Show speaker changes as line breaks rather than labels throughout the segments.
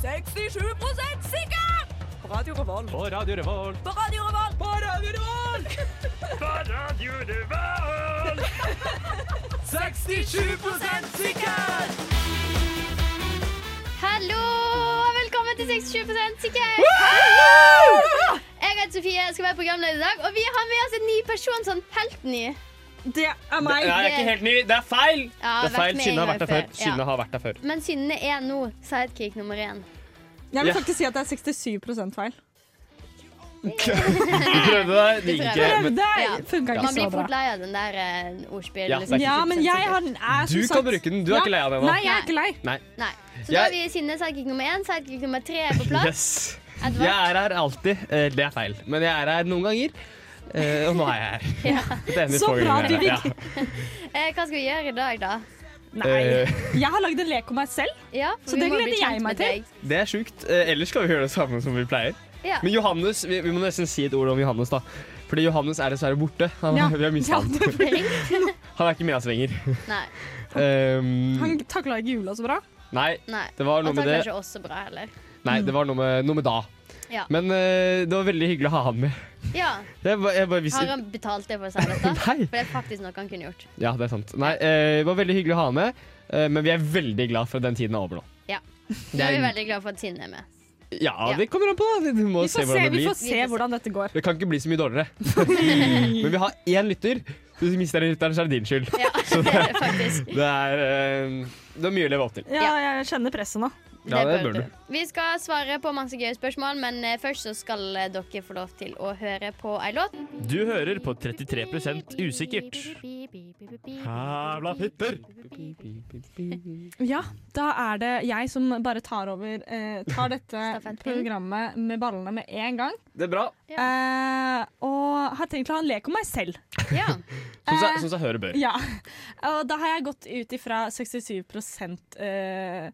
67 sikker! På Radio Revolt.
På Radio Revolt.
På Radio Revolt.
På Radio Revolt! på Radio Revolt! 67 sikker!
Hallo, og velkommen til 67 sikker! Jeg heter Sofie, jeg skal være programleder i dag, og vi har med oss en ny person, sånn helt ny.
Det er
Nei,
meg.
jeg er ikke helt ny. Det er feil!
Ja,
Det er
vært
feil.
med
Synne har
en
vært der
gang
før. Synne har vært der før.
Ja. Men Synne er nå sidekick nummer én.
Jeg vil
Ja.
faktisk si at det er 67 feil.
Du prøvde deg, det gikk ikke.
Prøv
Men
deg!
Ja.
Funka ikke
Man
så
blir fort
bra.
lei av den der uh, ordspillet.
Ja, det er ikke-
Ja, men jeg har den er som
du
sagt-
kan bruke den. Du er
Ja.
ikke lei av den
Nei,
ennå.
jeg er ikke lei.
Nei.
Nei.
Jeg-
Så da har vi Synne sidekick nummer én, sidekick nummer tre er på plass.
Yes.
Edvard.
Jeg er her alltid. Eh, Det er feil, men jeg er her noen ganger. Eh, og nå er jeg her.
Ja.
Det er eneste
Så
få ganger
bra,
jeg er
du
her.
Eh, hva skal vi gjøre i dag, da?
Nei.
Eh,
Jeg har lagd en lek om meg selv.
Ja, for
Så
vi
det
må
gleder
bli
jeg
kjent
meg
med
til.
Det er sjukt. Eh, Ellers skal vi gjøre det samme som vi pleier.
deg. Ja.
Men Johannes, vi, vi må nesten si et ord om Johannes, da. Fordi Johannes er dessverre borte. Han,
Ja.
Vi har mistet
Ja,
han.
det blir-
Han er ikke med oss lenger.
Nei.
Um,
Han takla ikke jula så bra.
nei,
nei.
det var noe
Og
med
takler
det.
ikke oss så bra heller.
Nei, det var noe med, noe med da.
Ja.
Men eh, det var veldig hyggelig å ha han med.
ja.
Jeg, ba- jeg bare visste
Har han betalt det for å si dette?
Nei.
For det er faktisk noe han kunne gjort.
Ja, det er sant. Nei, eh, det var veldig hyggelig å ha han med, eh, men vi er veldig glad for at den tiden er over nå.
Ja.
Det
Nå er vi
er,
veldig glad for at Sinn er med.
ja, det kommer an på. da. Vi må
Vi
se
får se,
hvordan det
vi får
blir.
se hvordan dette går.
Det kan ikke bli så mye dårligere. men vi har én lytter. så Hvis vi mister den lytteren, så er det din skyld.
Ja, det er det faktisk.
Det er, eh, det er mye å leve opp til.
Ja, jeg kjenner presset nå.
Ja, det bør du.
Vi skal svare på masse gøye spørsmål, men eh, først så skal eh, dere få lov til å høre på ei låt.
Du hører på 33 usikkert. Hævla fitter!
Ja, da er det jeg som bare tar over eh, Tar dette
Stafettpinnen.
programmet med ballene med en gang.
Det er bra.
Eh, og har tenkt å ha en lek om meg selv.
Ja.
Som
Eh,
seg, som seg hører bør.
Ja. Og da har jeg gått ut ifra 67 eh,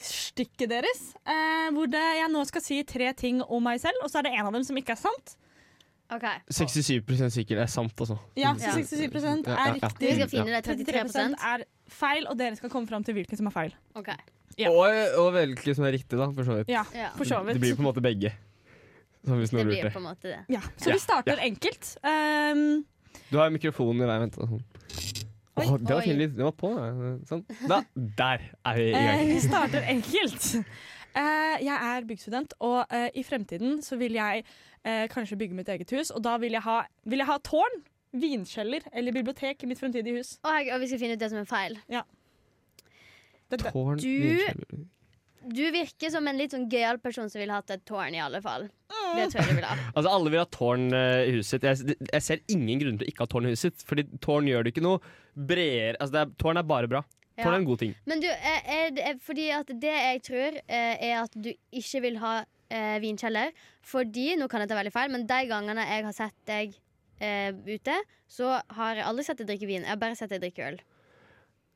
stykket deres. Eh, hvor det, jeg nå skal si tre ting om meg selv, og så er det en av dem som ikke er sant.
OK.
67 sikker er sant, altså.
Ja, så
Ja.
67 er
Ja, ja, ja.
Vi
riktig.
skal finne de 33
33 er feil, og dere skal komme fram til hvilken som er feil.
OK.
Ja.
Og, og velge som er riktig, da, for så vidt.
Ja,
Ja.
for så
Det blir
vidt.
på en måte begge. Sånn hvis
Det
noen
blir
lurte.
på en måte det.
Ja, så vi starter enkelt. Um,
Du har mikrofonen i veien. Vent. da, Sånn.
Oi,
Åh, det var
oi.
fin lyd. Den var på. da. Sånn. Da, der er vi i
Eh,
gang.
vi starter enkelt. Eh, jeg er byggstudent, og eh, i fremtiden så vil jeg eh, kanskje bygge mitt eget hus. Og da vil jeg ha, vil jeg ha tårn, vinkjeller eller bibliotek i mitt fremtidige hus.
Og, jeg, og vi skal finne ut det som er feil.
Dette.
Tårn
Du-
vinkjeller.
Du virker som en litt sånn gøyal person som ville hatt et tårn, i alle fall. Det tror jeg du vil ha.
Altså, alle vil ha tårn eh, i huset sitt. Jeg, jeg ser ingen grunn til å ikke ha tårn i huset sitt. Fordi tårn gjør det ikke noe bredere altså, det er, Tårn er bare bra.
Ja.
Tårn er en god ting.
Men du, eh, eh, det er fordi at det jeg tror, eh, er at du ikke vil ha eh, vinkjeller. Fordi, nå kan jeg ta veldig feil, men de gangene jeg har sett deg eh, ute, så har jeg aldri sett deg drikke vin. Jeg har bare sett deg drikke øl.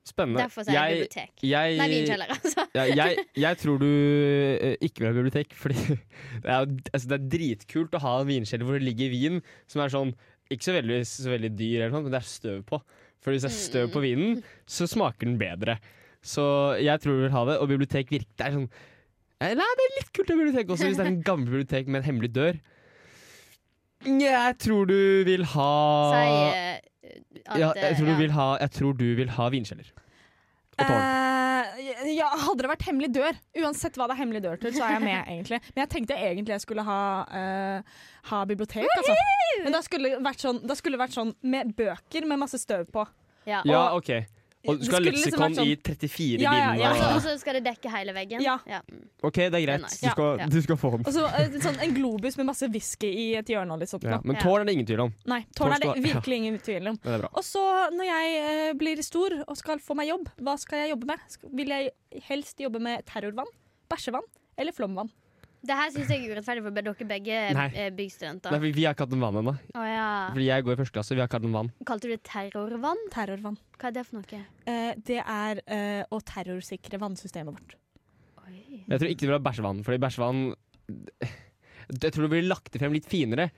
Spennende.
Derfor sier jeg bibliotek.
jeg,
Nei, vinkjeller, altså.
Ja, jeg, jeg tror du eh, ikke vil ha bibliotek, fordi det er, jo- altså, det er dritkult å ha en vinkjeller hvor det ligger vin som er sånn Ikke så veldig, så veldig dyr, eller noe, men det er støv på. For hvis det er støv på vinen,
Mm.
så smaker den bedre. Så jeg tror du vil ha det. Og bibliotek virker det er sånn eh, Nei, det er litt kult å ha bibliotek også, hvis det er en gammel bibliotek med en hemmelig dør. Jeg tror du vil ha
Si eh, at
Ah. ja, jeg, tror du
eh,
vil ha jeg tror du vil ha vinkjeller. Og tårn.
Eh, ja, hadde det vært hemmelig dør, uansett hva det er hemmelig dør til, så er jeg med, egentlig. Men jeg tenkte egentlig jeg skulle ha, eh, ha bibliotek, altså. Men da skulle det vært, sånn, da skulle det vært sånn med bøker med masse støv på.
ja.
Ja,
og-
OK. Og du
Det
skal ha
skulle liksom
leksikon
vært sånn-
i 34
Ja, ja,
bind.
ja.
og-
Altså, og så skal det dekke hele veggen.
Ja.
mm.
OK, det er
Den er
greit.
nice.
Du skal,
Ja.
du skal få den.
Og så eh, sånn en globus med masse whisky i et hjørne og litt sånt.
Ja,
noe.
men
Ja.
tårn er det ingen tvil om.
Nei, tårn er det
Tårn skal-
virkelig ingen tvil om.
Men det er bra.
Og så når jeg eh, blir stor og skal få meg jobb, hva skal jeg jobbe med? Sk- Vil jeg helst jobbe med terrorvann, bæsjevann eller flomvann?
Det her syns jeg er urettferdig for dere begge
Nei.
eh,
Nei,
byggstudenter.
for vi har ikke hatt noe vann ennå.
Å ja.
Fordi jeg går i første klasse, vi har ikke hatt noe vann.
Kalte du det terrorvann?
Terrorvann.
Hva er det for noe?
Eh, det er eh, å terrorsikre vannsystemet vårt.
Oi.
Jeg tror ikke du vil ha bæsjevann, fordi bæsjevann Jeg tror du ville lagt det frem litt finere.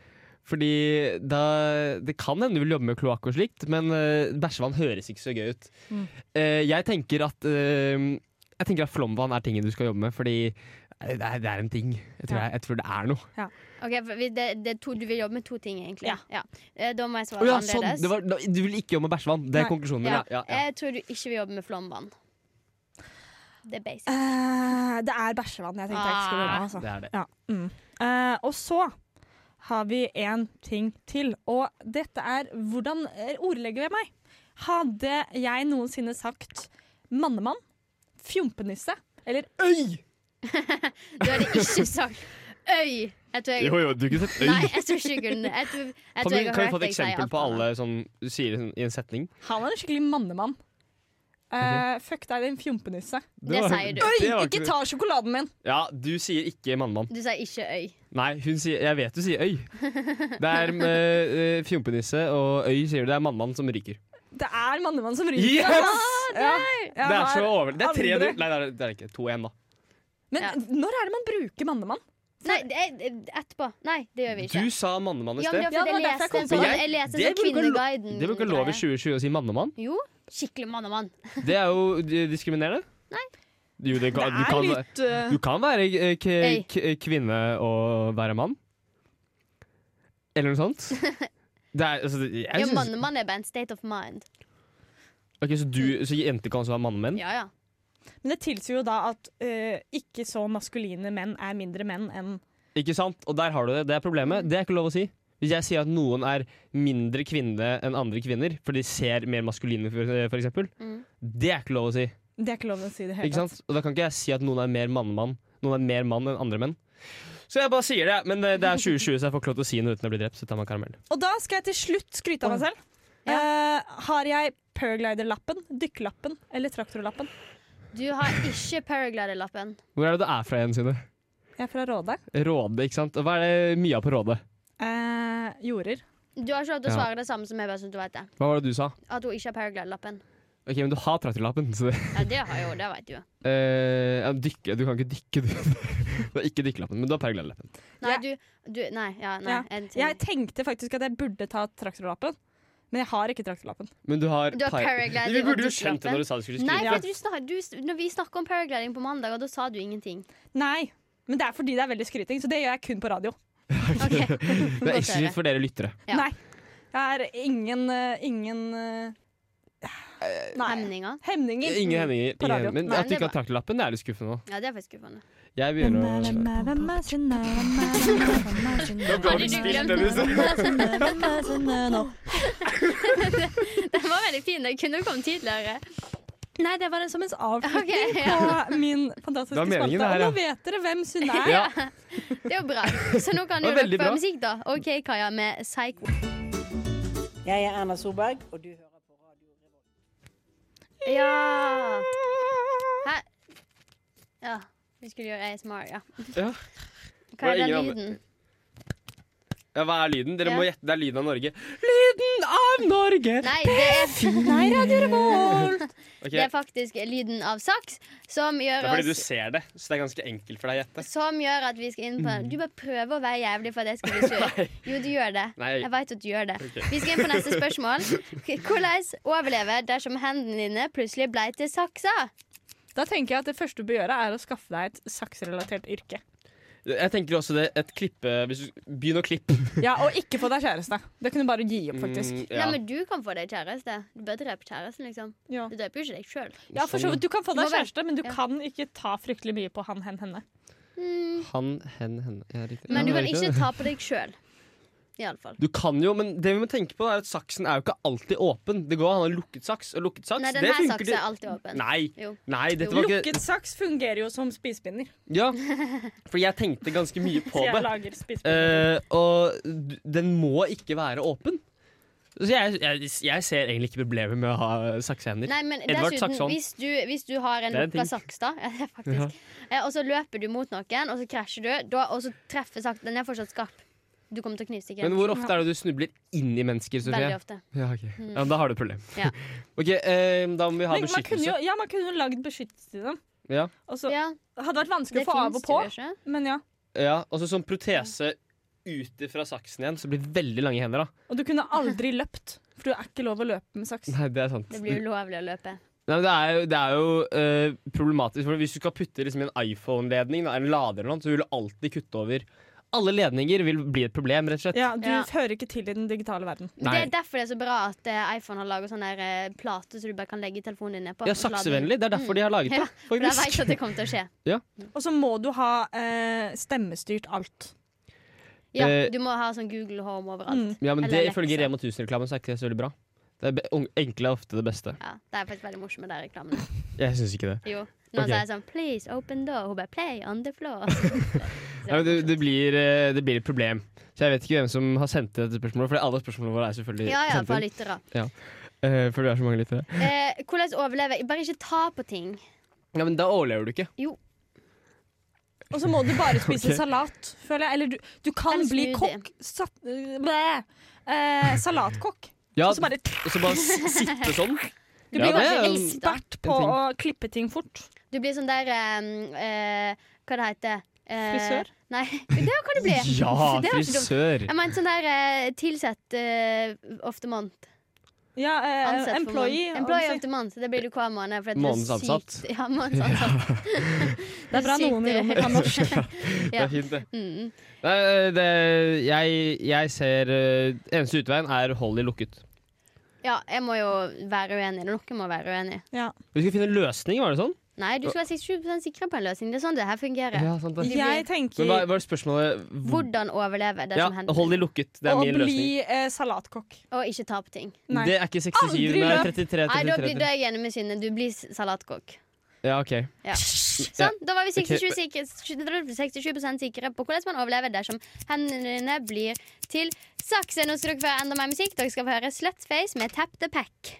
Fordi da Det kan hende du vil jobbe med kloakk og slikt, men eh, bæsjevann høres ikke så gøy ut.
Mm.
Eh, jeg tenker at eh, Jeg tenker at flomvann er tingen du skal jobbe med, fordi Det er, det er en ting. Jeg tror,
Ja.
jeg, jeg tror det er noe.
Ok, for vi- det, det er to, Du vil jobbe med to ting, egentlig.
Ja.
Eh, Da må jeg svare
Å ja, sånn!
annerledes.
Det var, da- du vil ikke jobbe med bæsjevann. Det er
Nei. Eh,
konklusjonen min.
ja.
Ja. Ja, ja.
Jeg tror du ikke vil jobbe med flomvann. Det er basic.
Eh, det er bæsjevann jeg tenkte jeg ikke skulle ha. Altså.
Det er det.
Ja. Mm. Eh, og så har vi en ting til, og dette er hvordan eh, ordlegger jeg meg? Hadde jeg noensinne sagt mannemann, fjompenisse eller øy?
Du hadde ikke sagt øy. Jeg tror jeg,
Jo, jo, du kunne sett
Nei,
øy.
jeg tror ikke jeg kunne jeg tror, jeg
Kan vi,
tror jeg har
kan vi få
hørt
et
deg si
eksempel
alt
på
annet.
alle som du sier det sånn i en setning?
Han er en skikkelig mannemann. Eh, fuck deg, din fjompenisse.
Det sier du.
Øy,
det var
ikke ta sjokoladen min!
Ja, du sier ikke mannemann.
Du sier ikke øy.
Nei, hun sier Jeg vet du sier øy. Det er eh, eh, fjompenisse og øy sier du. Det er mannmann som ryker.
Det er mannemann som ryker.
Yes!
altså. Ja, jeg
Det er så
har-
over... Det er tre
aldri-
null. Nei, det er, det er ikke. 2-1, da.
Men
Ja.
når er det man bruker mannemann?
Nei, det er, etterpå. Nei, det gjør vi ikke.
Du sa mannemann i
ja, men det
sted.
var fordi
Ja, det var
jeg
derfor jeg
leste
kom
en
på
sånn,
det.
jeg leste en
Det
sånn
burde gå lo-
Kvinneguiden.
Det var ikke lov i
greie.
2020 å si mannemann.
Jo. Skikkelig mann og mann.
Det er jo eh, diskriminerende. Nei. Jo, det
Det
kan, du,
er
kan,
litt eh,
du kan være eh, k
Øy.
k kvinne og være mann. Eller noe sånt. Det er, altså, det- jeg
Ja,
synes,
mann og mann er bare en state of mind.
Ok, så, du, så jenter kan også være mannemenn?
Ja, ja.
Men det tilsier jo da at eh, ikke så maskuline menn er mindre menn enn
Ikke sant? Og der har du det. Det er problemet. Det er ikke lov å si. Hvis jeg sier at noen er mindre kvinne enn andre kvinner, for de ser mer maskuline, for, for eksempel,
Mm.
det er ikke lov å si.
Det er ikke lov å si det hele
Ikke sant? Og da kan ikke jeg si at noen er mer mannemann Noen er mer mann enn andre menn. Så jeg bare sier det. Men eh, det, det er 2020, så jeg får ikke lov til å si noe uten å bli drept. Så tar man karamell.
Og da skal jeg til slutt skryte av meg selv.
Ja.
Eh, har jeg paragliderlappen, dykkerlappen eller traktorlappen?
Du har ikke paragliderlappen.
Hvor er det du er fra igjen, Synne?
Jeg er fra Råde.
Råde, ikke sant? Og Hva er det mye av på Råde?
Eh, jorder.
Du har ikke lov til å
Ja.
svare det samme som jeg, bare så du vet det.
Hva var det du sa?
At hun ikke har paragliderlappen.
Ok, men du har traktorlappen. Så det,
Ja, det har jeg jo, det vet du.
Eh, ja, dykke, du kan ikke dykke, du. Du har ikke dykkerlappen, men du har paragliderlappen.
Nei,
Jeg-
du, du Nei, ja, nei.
Ja.
en ting.
Jeg tenkte faktisk at jeg burde ta traktorlappen, men jeg har ikke traktorlappen.
Men du har,
Du har
par-
paraglider
Vi burde jo
og
skjønt det når
dykkerlappen.
du sa du skulle
Nei,
skrive.
Ja.
for at du snak, du, når vi snakka om paragliding på mandag, og da sa du ingenting.
Nei, men det er fordi det er veldig skryting, så det gjør jeg kun på radio.
det
Ok,
er
godt å
ikke
høre.
for dere lyttere.
Ja.
Nei. Jeg er ingen eh, ingen eh, Nei.
Hemninger.
Hemninger.
Ingen hendinger.
På radio.
Ingen, men
Nei,
at du
det
ikke
var-
har traktorlappen, det er litt skuffende nå.
Ja, det er faktisk skuffende.
Jeg begynner å
Hadde du glemt Den var veldig fin. Den kunne kommet tidligere.
Nei, det var en som en avslutning
Ok, ja.
på min fantastiske
Det var meningen,
spalte. Og
det her, ja.
nå vet dere hvem Synne er.
Ja,
Det er jo bra. Så nå kan
Det var
jo dere
veldig
få
bra.
musikk, da. OK, Kaja, med Psycho.
Jeg er Erna Solberg, og du hører på Radio Revolt.
Ja. Hæ? Ja. Vi skulle gjøre ASMR, ja.
Ja.
Hva
Det
er
var
den
ingen andre-
lyden?
ja, hva er lyden? Dere
Ja.
må gjette. Det er lyden av Norge. Lyden av Norge!
Nei, det er,
Nei, Radio Revolt!
Ok,
det er faktisk lyden av saks som
Det
gjør
er fordi du
oss
ser det, så det er ganske enkelt for deg å gjette.
som gjør at vi skal inn på
Mm.
den. Du bare prøver å være jævlig for at jeg skal bli sur. Jo, du gjør det.
Nei.
Jeg veit at du gjør det.
Ok.
Vi skal inn på neste spørsmål. Hvordan overleve dersom hendene dine plutselig blei til saksa?
Da tenker jeg at det første du bør gjøre, er å skaffe deg et saksrelatert yrke.
Jeg tenker også det, et klippe hvis du, Begynn å klippe.
Ja, Og ikke få deg kjæreste. Det kunne du bare gi opp, faktisk.
Mm, ja.
Nei, men du kan få deg kjæreste. Du bør drepe kjæresten, liksom.
Ja.
Du dreper jo ikke deg sjøl.
Ja,
sånn,
for så vidt. Du kan få
Må
deg
være-
kjæreste, men du
Ja.
kan ikke ta fryktelig mye på han, hen, henne.
Mm.
Han, hen, henne ja, riktig.
Men du
Ja,
kan
riktig.
ikke ta på deg sjøl. Iallfall.
Du kan jo, men det vi må tenke på er at saksen er jo ikke alltid åpen. Det går an å ha en lukket saks, og lukket saks
Nei,
det
denne
funker
saksa
til-
er alltid åpen.
Nei,
Jo.
nei, dette
Jo.
var ikke
Lukket saks fungerer jo som spisepinner.
Ja, for jeg tenkte ganske mye på
Så jeg
det.
lager spisepinner.
Eh, og d- den må ikke være åpen. Så jeg, jeg, jeg ser egentlig ikke problemet med å ha saksehender.
Nei, men
Edvard
dessuten,
Saxon.
hvis du, hvis du har en
Det er en
lukka
ting.
saks, da, ja, det er faktisk, eh, og så løper du mot noen, og så krasjer du, da, og så treffer saksen Den er fortsatt skarp. Du kommer til å knivstikke
Men
den.
hvor ofte er det du snubler inn i mennesker?
Veldig
Sofie?
ofte. Mm.
Ja, ok. ja, men da har du et problem.
Ja.
ok, eh, da må vi ha
Men man kunne jo,
beskyttelse.
ja, man kunne jo lagd beskyttelse til dem.
Ja.
Og så
Ja,
hadde vært vanskelig
det
å få av og
fins
på,
jo ikke.
men ja.
ja, Og så sånn protese ute fra saksen igjen, så det blir veldig lange hender. da
Og du kunne aldri løpt, for du er ikke lov å løpe med saks.
Nei, det er sant.
Det blir ulovlig å løpe.
Nei, men det er jo, det er jo eh, problematisk, for hvis du skal putte liksom, en iPhone-ledning, da, en lader eller noe, så vil du alltid kutte over. Alle ledninger vil bli et problem, rett og slett.
Ja, du
Ja.
hører ikke til i den digitale verden.
Men Det
Nei.
er derfor det er så bra at eh, iPhone har laget sånn der eh, plate så du bare kan legge telefonen din nedpå.
Ja, saksevennlig. Det er derfor de har laget det,
Ja, For da vet jeg
faktisk.
at det kommer til å skje.
Og så må du ha eh, stemmestyrt alt.
Ja,
Eh,
du må ha sånn Google Home
Mm.
overalt.
Ja, men
Eller
det
Alexa.
ifølge Rema 1000-reklamen så er ikke det så veldig bra. Det er be- un- enkle er ofte det beste.
Ja, det er faktisk veldig morsomt med de reklamene.
Jeg syns ikke det.
Jo. Nå
Ok.
sier jeg sånn 'please open door', hun bare 'play on the floor'.
Ja, men det, det, blir, eh, det blir et problem. Så jeg vet ikke hvem som har sendt inn dette spørsmålet, for alle spørsmålene våre er selvfølgelig
Ja, ja,
sendt
for
inn.
lyttere.
Eh, for det er så mange lyttere.
Eh, hvordan overleve? Bare ikke ta på ting.
Ja, men da overlever du ikke.
Og så må du bare spise
Ok.
salat, føler jeg. Eller du, du kan
Eller
bli
smoothie.
kokk. Sat, blæ, eh, salatkokk.
Ja,
Og så bare
og så bare s- sitte sånn.
Du
Ja,
blir
det
jo
er
ja,
en-
ekspert på
en
å klippe ting fort.
Du blir sånn der eh, eh, Hva det heter Eh,
Frisør?
Nei, det kan du bli.
Ja,
det var ikke dumt.
frisør!
Jeg mente sånn der eh, tilsett eh, of the month.
Ja, eh,
Ansett for
employee.
month. employee
altså.
of the month. Det blir du hver måned. For det er
Månedens
sykt-
ansatt.
Ja, månedens ansatt.
Det er bra
sykt-
noen i rommet kan norsk.
Det er fint, det.
Mm.
Nei, eh, det jeg, jeg ser eh, Eneste utveien er hold de lukket.
Ja, jeg må jo være uenig. Noen må være uenig.
Vi skal finne en løsning, var det sånn?
Nei, du skal være 67 sikker på en løsning. Det er sånn det her fungerer.
sant
det.
Jeg tenker
Men hva hva er spørsmålet? Hvor-
Hvordan overleve det
Ja,
som hender.
hold de lukket. Det er
å
min løsning.
bli eh, salatkokk.
Og ikke ta på ting.
Nei.
Det er ikke 67,
Aldri
det er
løp.
33,
Nei, da blir
33.
da er jeg enig med Synne. Du blir s- salatkokk.
Ja, ok.
Sånn, da var vi 67, sikre, 67 sikre på hvordan man overlever dersom hendene dine blir til saks. Nå skal dere få høre enda mer musikk. Dere skal få høre Slutface med Tap the Pack.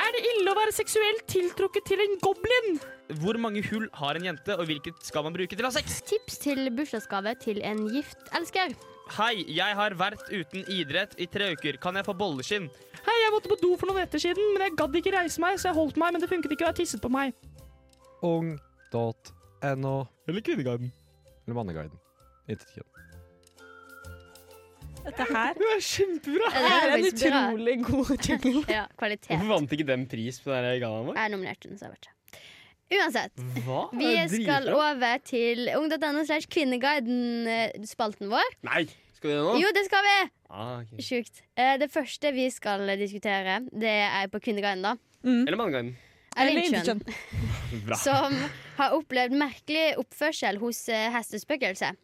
Er det ille å være seksuelt tiltrukket til en goblin?
Hvor mange hull har en jente, og hvilket skal man bruke til å ha sex?
Tips til bursdagsgave til en gift elsker.
Hei, jeg har vært uten idrett i tre uker. Kan jeg få bolleskinn?
Hei, jeg måtte på do for noen netter siden, men jeg gadd ikke reise meg, så jeg holdt meg, men det funket ikke, og jeg tisset på meg.
ung.no
Eller Kvinneguiden.
eller Manneguiden. Intet kjønn.
Dette her
Det er kjempebra!
Ja, det
er en
faktisk bra.
utrolig god jingle.
Ja, kvalitet.
Hvorfor vant ikke den pris på den gallaen vår?
Jeg er nominert til den, så jeg vet ikke. Uansett.
Hva?
Vi skal over til ung.no slash kvinneguiden-spalten vår.
Nei! Skal vi det nå?
Jo, det skal vi!
Ah, ok.
Sjukt. Eh, Det første vi skal diskutere, det er på Kvinneguiden, da.
Eller Manneguiden.
Eller
Eileen Schjøn,
intet
Bra.
som har opplevd merkelig oppførsel hos eh, hestespøkelset.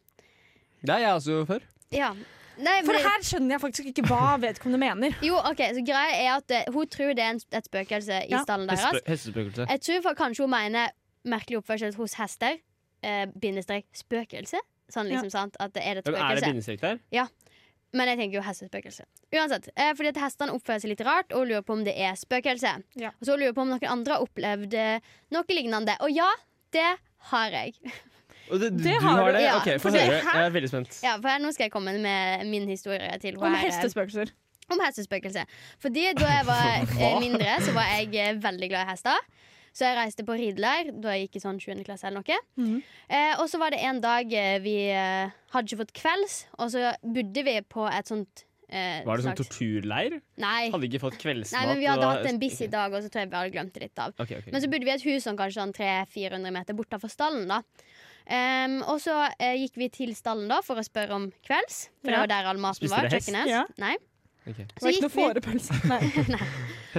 Det er jeg også før.
Ja. Nei,
For
men,
her skjønner jeg faktisk ikke hva vedkommende mener.
jo, ok, så greia er at eh, Hun tror det er en, et spøkelse i
Ja.
stallen
Heste,
deres.
hestespøkelse.
Jeg tror for, kanskje hun mener merkelig oppførsel hos hester. Eh, bindestrek spøkelse. Sånn
Ja.
liksom, sant? At det er et
Ja, men Er det
spøkelse.
bindestrek der?
Men jeg tenker jo hestespøkelse. Uansett, eh, fordi at Hestene oppfører seg litt rart og lurer på om det er spøkelse.
Ja.
Og så lurer på om noen andre har opplevd eh, noe lignende. Og ja, det har jeg.
Og det,
Det har du,
det?
ja.
Ok,
For
Få
det-
høre. Jeg er veldig spent.
Ja, for her, Nå skal jeg komme med min historie til
Om
her, eh,
hestespøkelser.
om hestespøkelse. Fordi da jeg var eh, mindre, så var jeg eh, veldig glad i hester. Så jeg reiste på rideleir da jeg gikk i sånn 7. klasse eller noe.
Mhm.
eh, og så var det en dag eh, vi eh, hadde ikke fått kvelds, og så bodde vi på et sånt eh,
Var det sånn
slags-
torturleir?
Nei.
Hadde ikke fått kveldsmat?
Nei, men vi
og Mm.
hadde
da-
hatt en busy dag, og så tror jeg vi hadde glemt det litt av.
Ok, ok.
Men så bodde vi i et hus som kanskje sånn 300-400 meter bortenfor stallen, da. Ehm, og så eh, gikk vi til stallen da for å spørre om kvelds, for det
Ja.
var der all maten
Spiste
var.
dere hest?
Kjøkkenet.
Ja.
Nei.
Ok.
Det var ikke noe
vi,
fårepølse. Nei.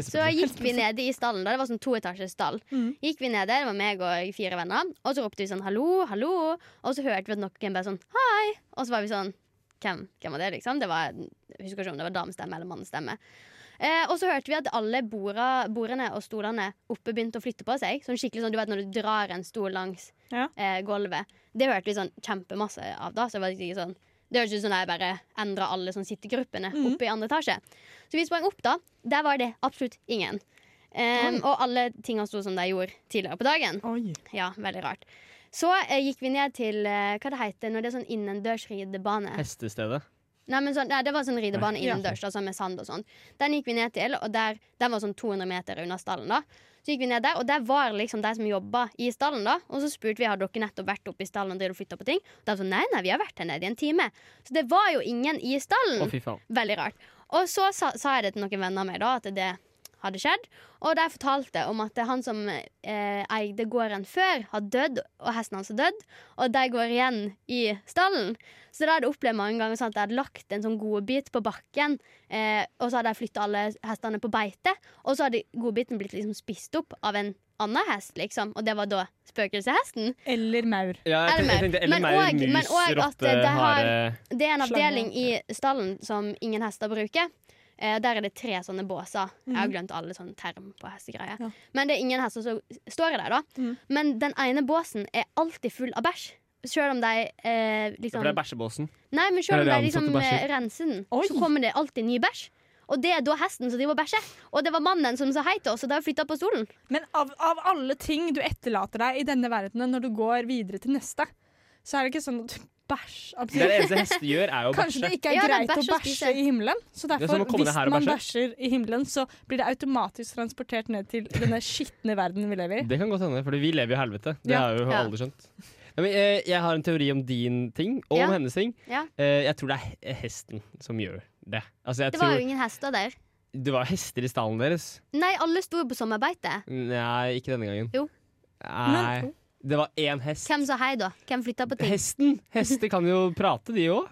så gikk vi nede i stallen, da. Det var sånn toetasjes stall.
Mhm.
Gikk vi nede, det var meg og fire venner, og så ropte vi sånn 'hallo, hallo', og så hørte vi at noen bare sånn 'hei', og så var vi sånn hvem, hvem var det, liksom? Det var, jeg husker ikke om det var damestemme eller mannestemme. Eh, og så hørte vi at alle borda, bordene og stolene oppe begynte å flytte på seg. Sånn skikkelig sånn, du vet Når du drar en stol langs
Ja.
eh, gulvet. Det hørte vi sånn kjempemasse av da. Så det var ikke sånn Det hørtes ut som da jeg bare endra alle sånn sittegruppene
Mhm.
oppe i andre etasje. Så vi sprang opp da. Der var det absolutt ingen. Em, og alle tinga sto som de gjorde tidligere på dagen.
Oi.
Ja, veldig rart. Så eh, gikk vi ned til eh, hva det heter når det er sånn innendørs ridebane.
Hestestedet.
Nei, men sånn, nei, det var sånn ridebane
Ja.
innendørs altså med sand og sånn. Den gikk vi ned til, og der, den var sånn 200 meter unna stallen. da Så gikk vi ned der, og der var liksom de som jobba i stallen. da Og så spurte vi har dere nettopp vært oppe i stallen og drevet og flytta på ting. Og de sa nei, nei, vi har vært her nede i en time. Så det var jo ingen i
Å,
stallen.
fy faen.
Veldig rart. Og så sa, sa jeg det til noen venner av meg, da, at det hadde skjedd. Og de fortalte om at han som eh, eide gården før, har dødd, og hesten hans har dødd. Og de går igjen i stallen. Så det hadde jeg opplevd mange ganger sånn at de hadde lagt en sånn godbit på bakken, eh, og så hadde de flytta alle hestene på beite, og så hadde godbiten blitt liksom spist opp av en annen hest, liksom. Og det var da spøkelseshesten.
Eller maur.
Ja, jeg tenkte-
Eller
jeg tenkte, eller
men
maur,
og- men
mus,
og at
rotte,
det har-
hare.
Det er en
Slange.
avdeling i stallen som ingen hester bruker. Eh, der er det tre sånne båser. Jeg har glemt alle sånne term på hestegreier.
Mhm. Ja.
Men det er ingen hester som står i der, da.
Mhm.
Men den ene båsen er alltid full av bæsj. Selv om de eh, liksom
For det er bæsjebåsen.
Nei, men selv
Eller
om de
det ansatte
liksom
bæsjer.
eh, renser den,
Oi.
så kommer det alltid ny bæsj. Og det er da hesten som driver og bæsjer. Og det var mannen som sa hei til oss, og da flytta på stolen.
Men av, av alle ting du etterlater deg i denne verdenen når du går videre til neste, så er det ikke sånn at du bæsj
Det er
absolutt.
det eneste hester gjør, er jo å
Kanskje
bæsje.
det ikke er
Ja, det er
greit
bæsj
å bæsje
å spise.
i himmelen. Så
er som
derfor,
å komme ned
hvis
her og
man
bæsje.
bæsjer i himmelen, så blir det automatisk transportert ned til denne skitne verden vi lever i.
Det kan godt hende, for vi lever jo i helvete. Det
Ja.
har jo
Ja.
alle skjønt. Nei, men, eh, jeg har en teori om din ting, og om
Ja.
hennes ting.
Ja.
Eh, jeg tror det er he- hesten som gjør det. Altså, jeg
Det
tror
var jo ingen hester der.
Det var hester i stallen deres.
Nei, alle sto jo på sommerbeite.
Nei, ikke denne gangen.
Jo.
Nei. det var én hest.
Hvem sa hei, da? Hvem flytta på ting?
Hesten! Hester kan jo prate, de òg.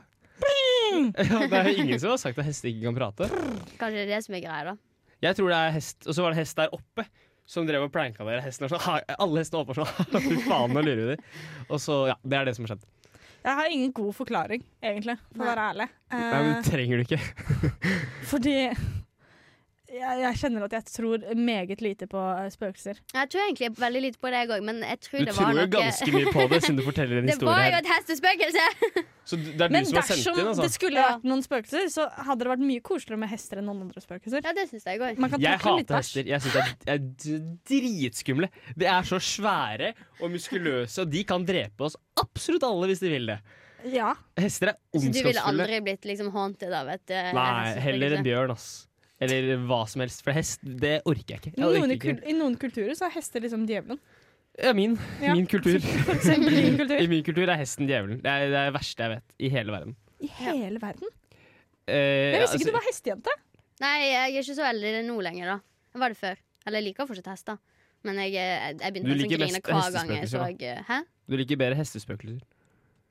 Ja, det er jo ingen som har sagt at hester ikke kan prate.
Kanskje det er det som er greia, da.
Jeg tror det er hest, og så var det hest der oppe som drev og pranka dere. Hesten var sånn, «Ha», alle hestene oppe var sånn Fy faen, nå lurer vi dem. Og så, ja, det er det som har skjedd.
Jeg har ingen god forklaring, egentlig, for å
Nei.
være ærlig.
Nei, men
Eh,
det trenger du ikke.
fordi jeg, jeg kjenner at jeg tror meget lite på eh, spøkelser.
Jeg tror egentlig veldig lite på det, jeg òg, men jeg tror
Du
det var
tror jo
noe
ganske mye på det siden du forteller en
Det var
historie
jo
her.
et hestespøkelse!
Så du- det er du
Men
som har sendt
dersom
inn,
det
altså.
skulle
Ja.
vært noen spøkelser, så hadde det vært mye koseligere med hester enn noen andre spøkelser.
Ja, det syns jeg òg.
Man kan
Jeg
takle litt
hater
bæsj.
hester. Jeg syns de er d- dritskumle. De er så svære og muskuløse, og de kan drepe oss absolutt alle hvis de vil det.
Ja.
Hester er
Så du ville
ondskapsfulle.
aldri blitt liksom haunted av et eh,
Nei, heller en
hestespøkelse?
bjørn, ass. Eller hva som helst. For hest, det orker jeg ikke. Jeg
Noen i,
orker
kul
ikke.
I noen kulturer så er hester liksom djevelen.
Ja, min.
Ja.
Min kultur.
For eksempel i min
I
kultur.
min kultur er hesten djevelen. Det er det er det verste jeg vet i hele verden.
I hele verden.
Eh,
Jeg visste
altså,
ikke du var hestejente.
Nei, jeg er ikke så veldig nå lenger, da. Jeg var det før. Eller jeg liker fortsatt hester. Men jeg, eh, jeg, jeg
Du
begynte nesten å
liker mest
grine hver gang jeg
hestespøkelser,
så
da.
eh, Hæ?
du liker bedre hestespøkelser.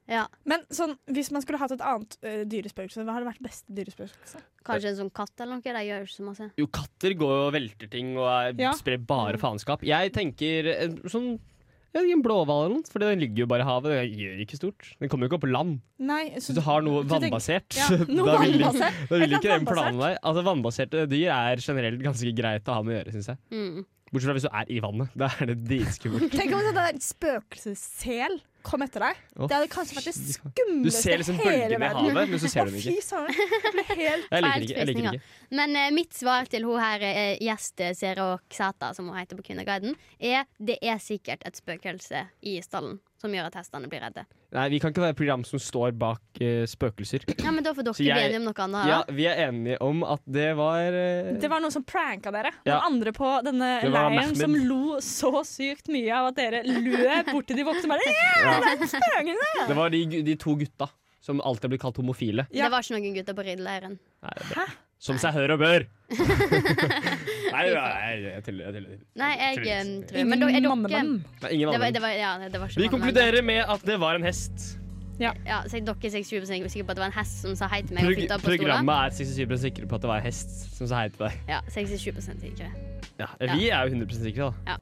Ja,
Men sånn, hvis man skulle hatt et annet uh, dyrespøkelse, hva hadde vært beste dyrespøkelse?
Kanskje en sånn katt eller noe. De gjør jo ikke så masse.
Jo, katter går og velter ting og er,
Ja. Mm.
sprer bare faenskap. Jeg tenker en sånn jeg vet ikke, en blåhval eller noe, for den ligger jo bare i havet. Den gjør ikke stort. Den kommer jo ikke opp på land.
Nei,
Så du har noe
du tenker-
vannbasert.
Ja,
da
noe
vil,
vannbasert.
da vil
Jeg
ikke
kan
den planen der. Altså, vannbaserte dyr er generelt ganske greit å ha med å gjøre, syns jeg.
Mm.
Bortsett fra hvis du er i vannet. Da er det dritskummelt.
Tenk om sånn der spøkelsessel kom etter deg.
Å,
Det hadde kanskje vært det
fy faen. Du
skumleste
ser liksom
hele
bølgene i
verden.
havet, men så ser du den
Å,
ikke.
fy søren. Jeg ble helt
Jeg liker det ikke. Jeg liker det ikke.
Men eh, mitt svar til hun her eh, gjest eh, Zero Xata, som hun heter på Kvinneguiden, er det er sikkert et spøkelse i stallen som gjør at hestene blir redde.
Nei, vi kan ikke være et program som står bak eh, spøkelser.
Ja, men Da får dere
Så jeg-
bli enige om noe annet. her
Ja,
da.
vi er enige om at det var eh,
Det var noen som pranka dere.
Ja.
Noen andre på denne
Det var
leiren
Mahmed.
som lo så sykt mye av at dere løp bort til de voksne og bare «Ja, det er spøkelse!»
Det var de, gu- de to gutta som alltid blir kalt homofile.
Ja.
Det var ikke noen gutter på rideleiren.
Nei, det er bra. Som seg hør og bør! nei, nei, nei, jeg tuller. Jeg tuller.
Nei, jeg eh,
Tuller.
tror Men da er dere
Mannemann.
Nei, ingen
det var,
annen.
det var, ja, det var
Vi
ikke mannemann.
konkluderer med at det var en hest.
Ja, så dere er 67 sikre på at det var en hest som sa hei til meg og
Prog
flytta på stolen?
programmet er 67 sikre på at det var en hest som sa hei til deg.
Ja, 67 sikre.
Ja, vi er jo 100 sikre, da.
Ja.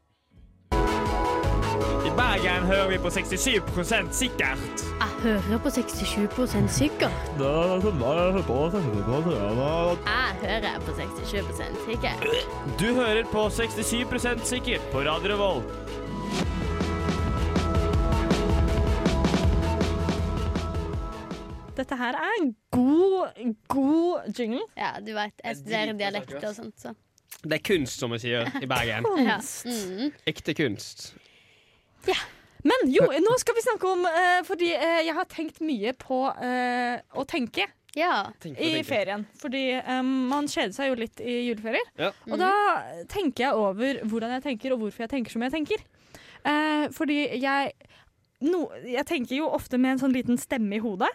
I Bergen hører vi på 67 sikkert.
Jeg hører på 67 sikkert. Jeg hører på 67 sikkert.
Du hører på 67 sikkert på Radio Revolt.
Dette her er en god, god jingle.
Ja, du vet, jeg studerer dialekt og sånt, så.
Det er kunst, som vi sier i Bergen.
Ja.
Kunst.
Mm.
Ekte kunst.
Men jo, nå skal vi snakke om eh, Fordi eh, jeg har tenkt mye på eh, å tenke
Ja.
i ferien. Fordi eh, man kjeder seg jo litt i juleferier.
Ja.
Og da tenker jeg over hvordan jeg tenker, og hvorfor jeg tenker som jeg tenker. Eh, fordi jeg no, Jeg tenker jo ofte med en sånn liten stemme i hodet.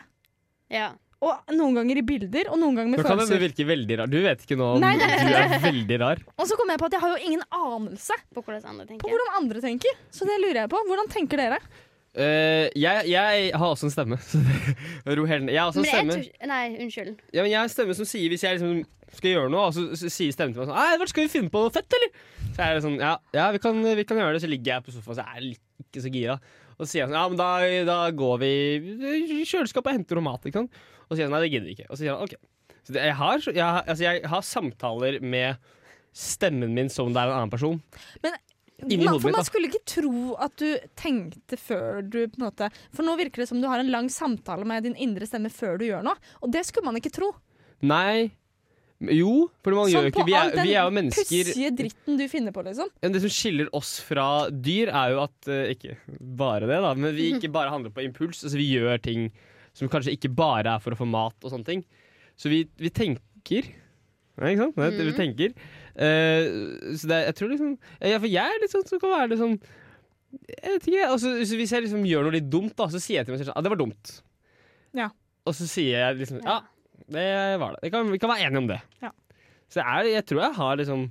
ja.
Og noen ganger i bilder, og noen ganger
Nå
med
kan det
følelser.
virke veldig rar. Du vet ikke nå om
Nei,
du
det-
er veldig rar.
Og så kom jeg på at jeg har jo ingen anelse
På hvordan andre
på
tenker.
hvordan andre tenker. Så det lurer jeg på. Hvordan tenker dere?
Eh, jeg, jeg har også en stemme. så det- Ro helt ned. Jeg har også en
Men jeg
stemme.
tror ikke Nei, unnskyld.
Ja, men jeg har en stemme som sier hvis jeg liksom skal gjøre noe, og så s- sier stemmen til meg sånn Nei, Edvard, skal vi finne på noe fett, eller? Så er det sånn Ja, ja vi, kan, vi kan gjøre det. Så ligger jeg på sofaen, så er jeg litt- ikke så gira. Og så sier jeg sånn Ja, men da, da går vi i kjøleskapet og henter noe mat, ikke sant? Og så sier jeg sånn Nei, det gidder vi ikke. Og så sier han OK. Så det, jeg, har, jeg, har- altså, jeg har samtaler med stemmen min som det er en annen person. Inni
Man,
hodet
for
mitt, da.
man skulle ikke tro at du tenkte før du på en måte For nå virker det som du har en lang samtale med din indre stemme før du gjør noe. Og det skulle man ikke tro.
Nei. Jo, for man
Sånn
gjør jo
på
ikke Vi
all
er,
den
vi er jo mennesker
pussige dritten du finner på, liksom.
Men det som skiller oss fra dyr, er jo at eh, Ikke bare det, da, men vi ikke bare handler på impuls. Altså Vi gjør ting som kanskje ikke bare er for å få mat og sånne ting. Så vi, vi tenker. Ja, ikke sant? Det, er det
Mm.
Vi tenker. Eh, så det, er- jeg tror liksom ja, For jeg er litt sånn som kan være litt sånn Jeg vet ikke. Altså, så hvis jeg liksom gjør noe litt dumt, da, så sier jeg til meg selv sånn Ja, det var dumt.
Ja.
Og så sier jeg liksom Ja, det var det. Vi kan, vi kan være enige om det.
Ja.
Så jeg, er, jeg tror jeg har liksom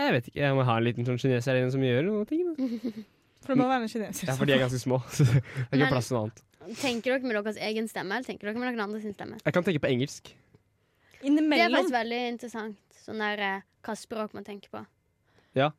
jeg vet ikke, jeg må ha en liten sånn kineser her inne som gjør noen ting. Da.
For det må være en kineser.
Ja, for de er ganske små. Så det er
Men-
ikke plass til noe annet.
Tenker dere med deres egen stemme, eller tenker dere med noen andre sin stemme?
Jeg kan tenke på engelsk.
Det er
Innimellom.
faktisk veldig interessant. Sånn der eh, hva språk man tenker på.
Ja,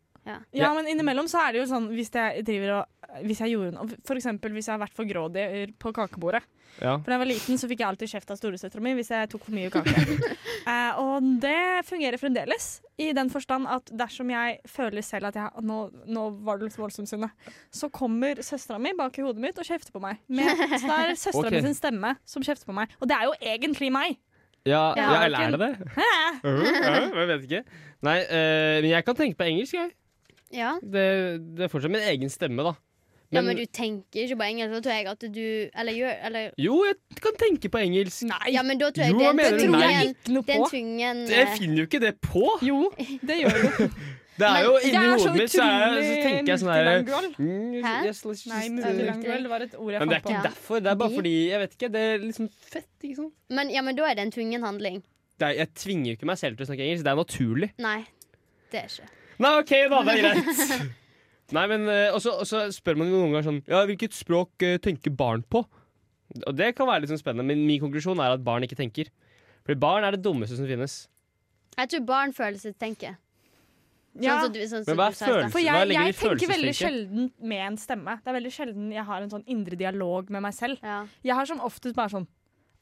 men innimellom så er det jo sånn hvis jeg driver og Hvis jeg gjorde noe For eksempel hvis jeg har vært for grådig på kakebordet.
Ja.
For da jeg var liten, så fikk jeg alltid kjeft av storesøstera mi hvis jeg tok for mye kake. eh, og det fungerer fremdeles, i den forstand at dersom jeg føler selv at jeg, nå, nå var det litt voldsomt, Synne, så kommer søstera mi bak i hodet mitt og kjefter på meg. Med, så da er det søstera
Ok.
mi sin stemme som kjefter på meg. Og det er jo egentlig meg!
Ja,
Ja,
ja, eller er det det?
Hæ?
Uh, uh, jeg vet ikke. Nei, eh, men jeg kan tenke på engelsk, jeg.
Ja.
Det, det er fortsatt min egen stemme, da.
ja, men du tenker ikke på engelsk. Da tror jeg at du Eller gjør eller,
Jo, jeg kan tenke på engelsk. Nei,
Ja, men da tror jeg
Jo, hva
det, det,
mener du?
tror
Nei.
jeg er en-
Ikke noe
det er en
på.
tvungen
jeg
eh,
finner jo ikke det på!
Jo, det gjør du.
Det er jo inni
Jeg er så
hodet mitt, så, er, så
utrolig
tenker jeg sånn her
multilingual.
mm,
Hæ?
yes, let's
Nei,
just, eh,
multilingual, det var et ord jeg
Men det er
fant på.
ikke
Ja.
derfor. Det er bare
Fordi-
fordi Jeg vet ikke. Det er liksom fett, ikke sant.
Men, ja, men da er det en tvungen handling.
Det er, jeg tvinger jo ikke meg selv til å snakke engelsk. Det er naturlig.
Nei, det er ikke.
Nei, OK, da. Det er greit. Nei, men eh, også, også spør man jo noen ganger sånn Ja, hvilket språk eh, tenker barn på? Og det kan være litt sånn spennende, men min konklusjon er at barn ikke tenker. Fordi barn er det dummeste som finnes.
Jeg tror barn føler seg tenke. Sånn
Ja.
som du, sånn som
Men hva
du
er
sa i stad.
følelsen?
For
Hva
jeg,
ligger
jeg
i
tenker veldig
følelseslenke?
sjelden med en stemme. Det er veldig sjelden jeg har en sånn indre dialog med meg selv.
Ja.
Jeg har som oftest bare sånn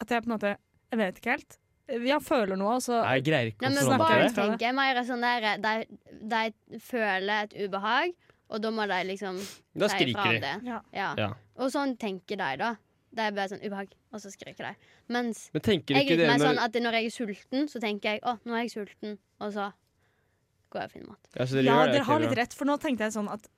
at jeg på en måte Jeg vet ikke helt. Jeg føler noe, og så
Nei, jeg greier ikke
Nei,
å
men
snakker jeg
forholde meg
ut
til
barn
det.
fra det.
tenker mer sånn der eh, de, de føler et ubehag, og da må de liksom
Da
si ifra om
skriker de.
det.
Ja.
Ja.
Ja.
Og sånn tenker de, da. De er bare sånn ubehag, og så skriker de. Mens
Men tenker du
jeg er
ikke
litt
det
mer
når
sånn at når jeg er sulten, så tenker jeg å, nå er jeg sulten, og så går jeg og finner mat.
Ja, så dere
Ja,
gjør det,
dere har
ok,
litt
bra.
rett, for nå tenkte jeg sånn at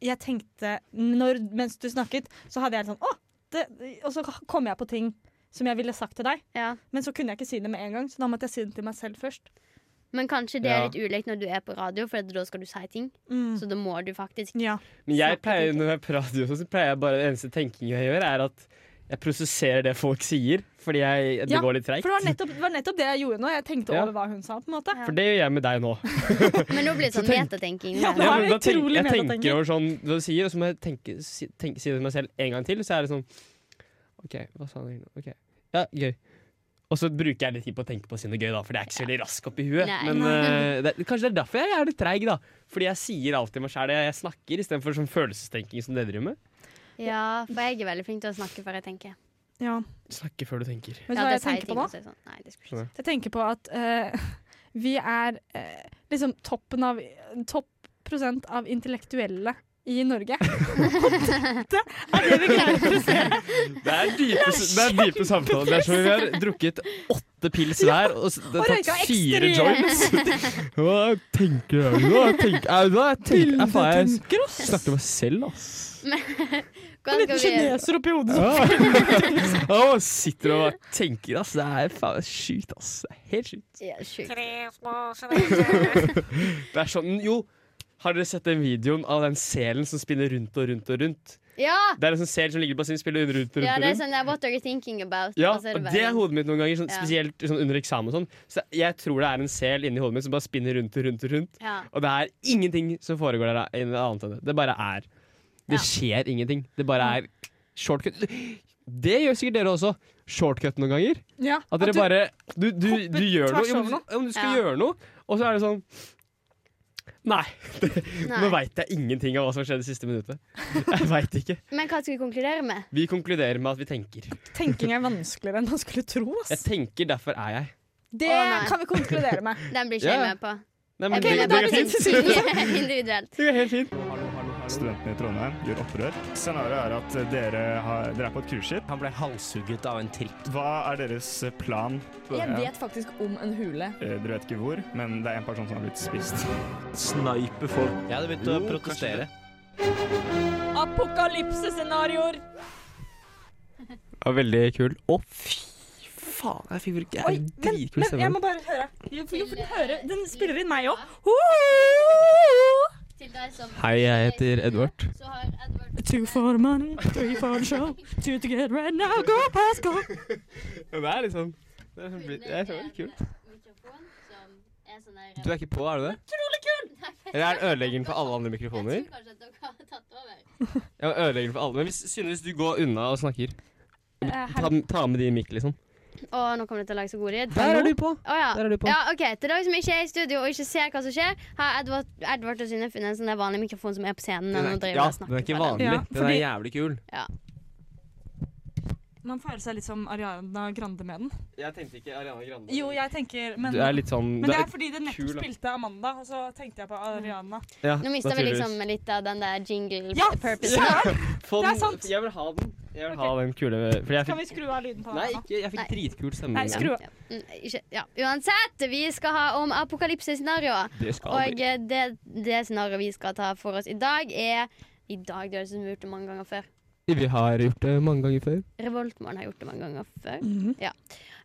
Jeg tenkte når, Mens du snakket, så hadde jeg sånn Å! Det, og så kom jeg på ting som jeg ville sagt til deg,
Ja.
men så kunne jeg ikke si det med en gang, så da måtte jeg si det til meg selv først.
Men kanskje det er
Ja.
litt ulikt når du er på radio, for at da skal du si ting.
Mm.
Så da må du faktisk
Ja.
Men jeg
snakker
pleier,
til-
når jeg prater, så pleier jeg bare Den eneste tenkingen jeg gjør, er at jeg prosesserer det folk sier, fordi jeg, det
Ja,
går litt
For
treigt.
det var nettopp, det var nettopp det jeg gjorde nå. Jeg tenkte
Ja.
over hva hun sa, på en måte.
Ja.
For det gjør jeg med deg nå.
Men nå blir det sånn metatenking.
Ja,
det.
nå
Ja,
er det
men da tenk-
utrolig
Jeg
metatenking.
tenker over sånn hva du sier, og så må jeg tenke, si, tenke, si det til meg selv en gang til. Så er det sånn OK, hva sa han egentlig? nå? Ok, Ja, gøy. Og så bruker jeg litt tid på å tenke på å si noe gøy, da, for det er ikke så veldig rask oppi huet.
Nei.
Men eh, det, kanskje det er derfor jeg er litt treig, da. Fordi jeg sier alltid meg sjæl det jeg snakker, istedenfor sånn følelsestenking som dere driver med.
ja, for jeg er veldig flink til å snakke før jeg tenker.
Ja.
Snakke før du tenker.
Vet du
ja,
hva
det
jeg
sier
tenker
ting,
på nå?
og så er det Sånn. Nei, det skulle jeg ikke si.
Jeg tenker på at eh, vi er eh, liksom toppen av Topp prosent av intellektuelle i Norge. Og dette er det vi greier å produsere.
Det er dype, det er dype samtaler. Det er som om vi har drukket åtte pils hver og s- det
og
har
røyka
tatt fire
ekstremt.
joints. Hva tenker jeg nå? Jeg tenker, jeg, jeg tenker, jeg, faen, jeg
Bildetenker oss.
snakker til meg selv, ass.
En
Hvordan
liten
skal vi
kineser oppi hodet.
Ja. Å, sitter og bare tenker, ass. Det er faen sjukt, ass. Det er helt sjukt.
ja, sjukt.
Det er sånn, jo, har dere sett den videoen av den selen som spinner rundt og rundt og rundt?
Ja!
Det er en sånn sel som ligger i bassenget og spiller rundt, rundt, rundt.
ja, det er
rundt.
sånn der, What are you thinking about?
Ja,
Og så Altså, er
og
bare-
det er hodet mitt noen ganger, sånn,
Ja.
spesielt sånn under eksamen og sånn. Så jeg tror det er en sel inni hodet mitt som bare spinner rundt og rundt og rundt.
ja.
Og det er ingenting som foregår der enn annet enn det. Det bare er. Det
Ja.
skjer ingenting. Det bare er shortcut. Det gjør sikkert dere også. Shortcut noen ganger.
Ja,
At dere
du-
bare Du, du, du
hopper
gjør noe.
tvers
Jo,
over
men,
noe.
du- jo, men du skal
Ja.
gjøre noe, og så er det sånn Nei. Nå
Nei.
veit jeg ingenting av hva som skjedde det siste minuttet. Jeg veit ikke.
Men hva skal vi konkludere med?
Vi konkluderer med at vi tenker.
Tenking er vanskeligere enn man skulle tro.
Jeg
Ass.
tenker, derfor er jeg.
Det
Å, nei.
kan vi konkludere med.
Den blir ikke jeg
Ja.
med på.
Nei,
Jeg
men
Ok,
det,
blir
men
med
da
det
på
er
går
det
fint.
sin tur.
individuelt.
Det går helt fint.
Studentene i Trondheim gjør opprør. Scenarioet er at dere, har, dere er på et cruiseskip.
Han ble halshugget av en tripp.
Hva er deres plan?
Jeg vet faktisk om en hule.
Eh, Dere vet ikke hvor, men det er en person som har blitt spist.
Snipe folk. Jeg hadde begynt å protestere.
Apokalypsescenarioer!
var veldig kul. Å, fy faen. Jeg fikk bruke
Oi, men,
dritkul
men jeg
stemme.
må bare høre. Jo, for- jo, for den hører- Den spiller inn meg òg.
Hei, jeg heter Edvard.
Two for money, three for the show. Two to get right now, go past go.
Det er liksom det er blitt, Jeg tror det er kult. Du er ikke på, er du det? Eller er den ødeleggeren for alle andre mikrofoner? Ja, ødeleggeren for alle. Men hvis, Synne, hvis du går unna og snakker,
Eh,
ta, ta med din mikk, liksom.
Å, nå kommer det til å lage så god lyd.
Der er du på!
Å ja.
Der er du på.
ja, OK. Til dere som ikke er i studio og ikke ser hva som skjer, har Edvard, Edvard og Synne funnet en sånn der vanlig mikrofon som er på
Den
scenen. når
er,
man
ikke-
driver
ja,
og snakker
den er ikke
på den.
vanlig.
Ja,
Den er
fordi-
jævlig kul.
Man føler seg litt som Ariana Grande med den.
Jeg tenkte ikke Ariana Grande.
Jo, jeg tenker Men,
Du er litt sånn
men det er fordi det nettopp
kul, da.
spilte Amanda, og så tenkte jeg på Ariana.
ja,
Nå mista vi
naturligvis.
liksom litt av den der jingle
Ja,
purpose.
søren!
Få
Det er
den-
sant.
Jeg vil ha den. Jeg vil ha den kule Fordi jeg
Kan
fikk
vi skru av lyden på
Nei,
Ariana?
ikke, jeg fikk
Nei.
dritkul stemme.
Nei, skru av.
Ja. Mm, Ikke, ja. Uansett, vi skal ha om apokalypsescenarioer.
Det skal
Og
vi.
eh, det, det scenarioet vi skal ta for oss i dag, er I dag, det høres ut som vi har liksom gjort det mange ganger før.
Vi har gjort det mange ganger før.
Revoltmorgen har gjort det mange ganger før. ja.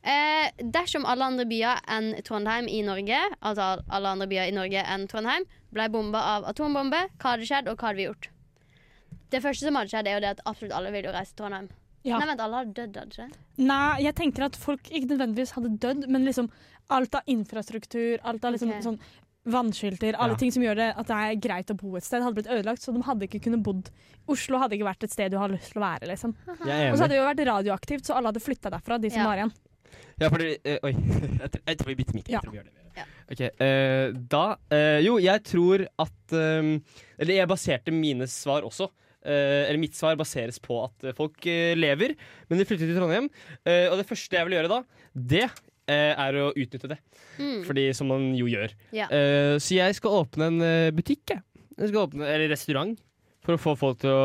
eh, dersom alle andre byer enn Trondheim i Norge, altså alle andre byer i Norge enn Trondheim, ble bomba av atombombe, hva hadde skjedd, og hva hadde vi gjort? Det første som hadde skjedd, er jo det at absolutt alle vil jo reise til Trondheim.
Ja.
Nei, vent, alle hadde dødd, hadde ikke det?
Nei, jeg tenker at folk ikke nødvendigvis hadde dødd, men liksom alt av infrastruktur, alt av liksom
Ok.
sånn vannskilter, alle
Ja.
ting som gjør det at det er greit å bo et sted, hadde blitt ødelagt, så de hadde ikke kunnet bodd. Oslo hadde ikke vært et sted du har lyst til å være, liksom.
Jeg er
Og så
enig.
hadde det jo vært radioaktivt, så alle hadde flytta derfra, de som
Ja.
var igjen.
Ja, fordi eh, Oi. Jeg tror, jeg tror vi bytter mikken.
Ja.
Jeg tror vi gjør det.
Ja.
Ok, eh, da eh, Jo, jeg tror at eh, Eller jeg baserte mine svar også. eh, eller mitt svar baseres på at eh, folk eh, lever, men de flytter til Trondheim. Eh, og det første jeg vil gjøre da, det eh, er å utnytte det.
Mm.
Fordi som man jo gjør.
Ja.
Eh, så jeg skal åpne en eh, butikk, jeg. jeg skal åpne, eller restaurant. For å få folk til å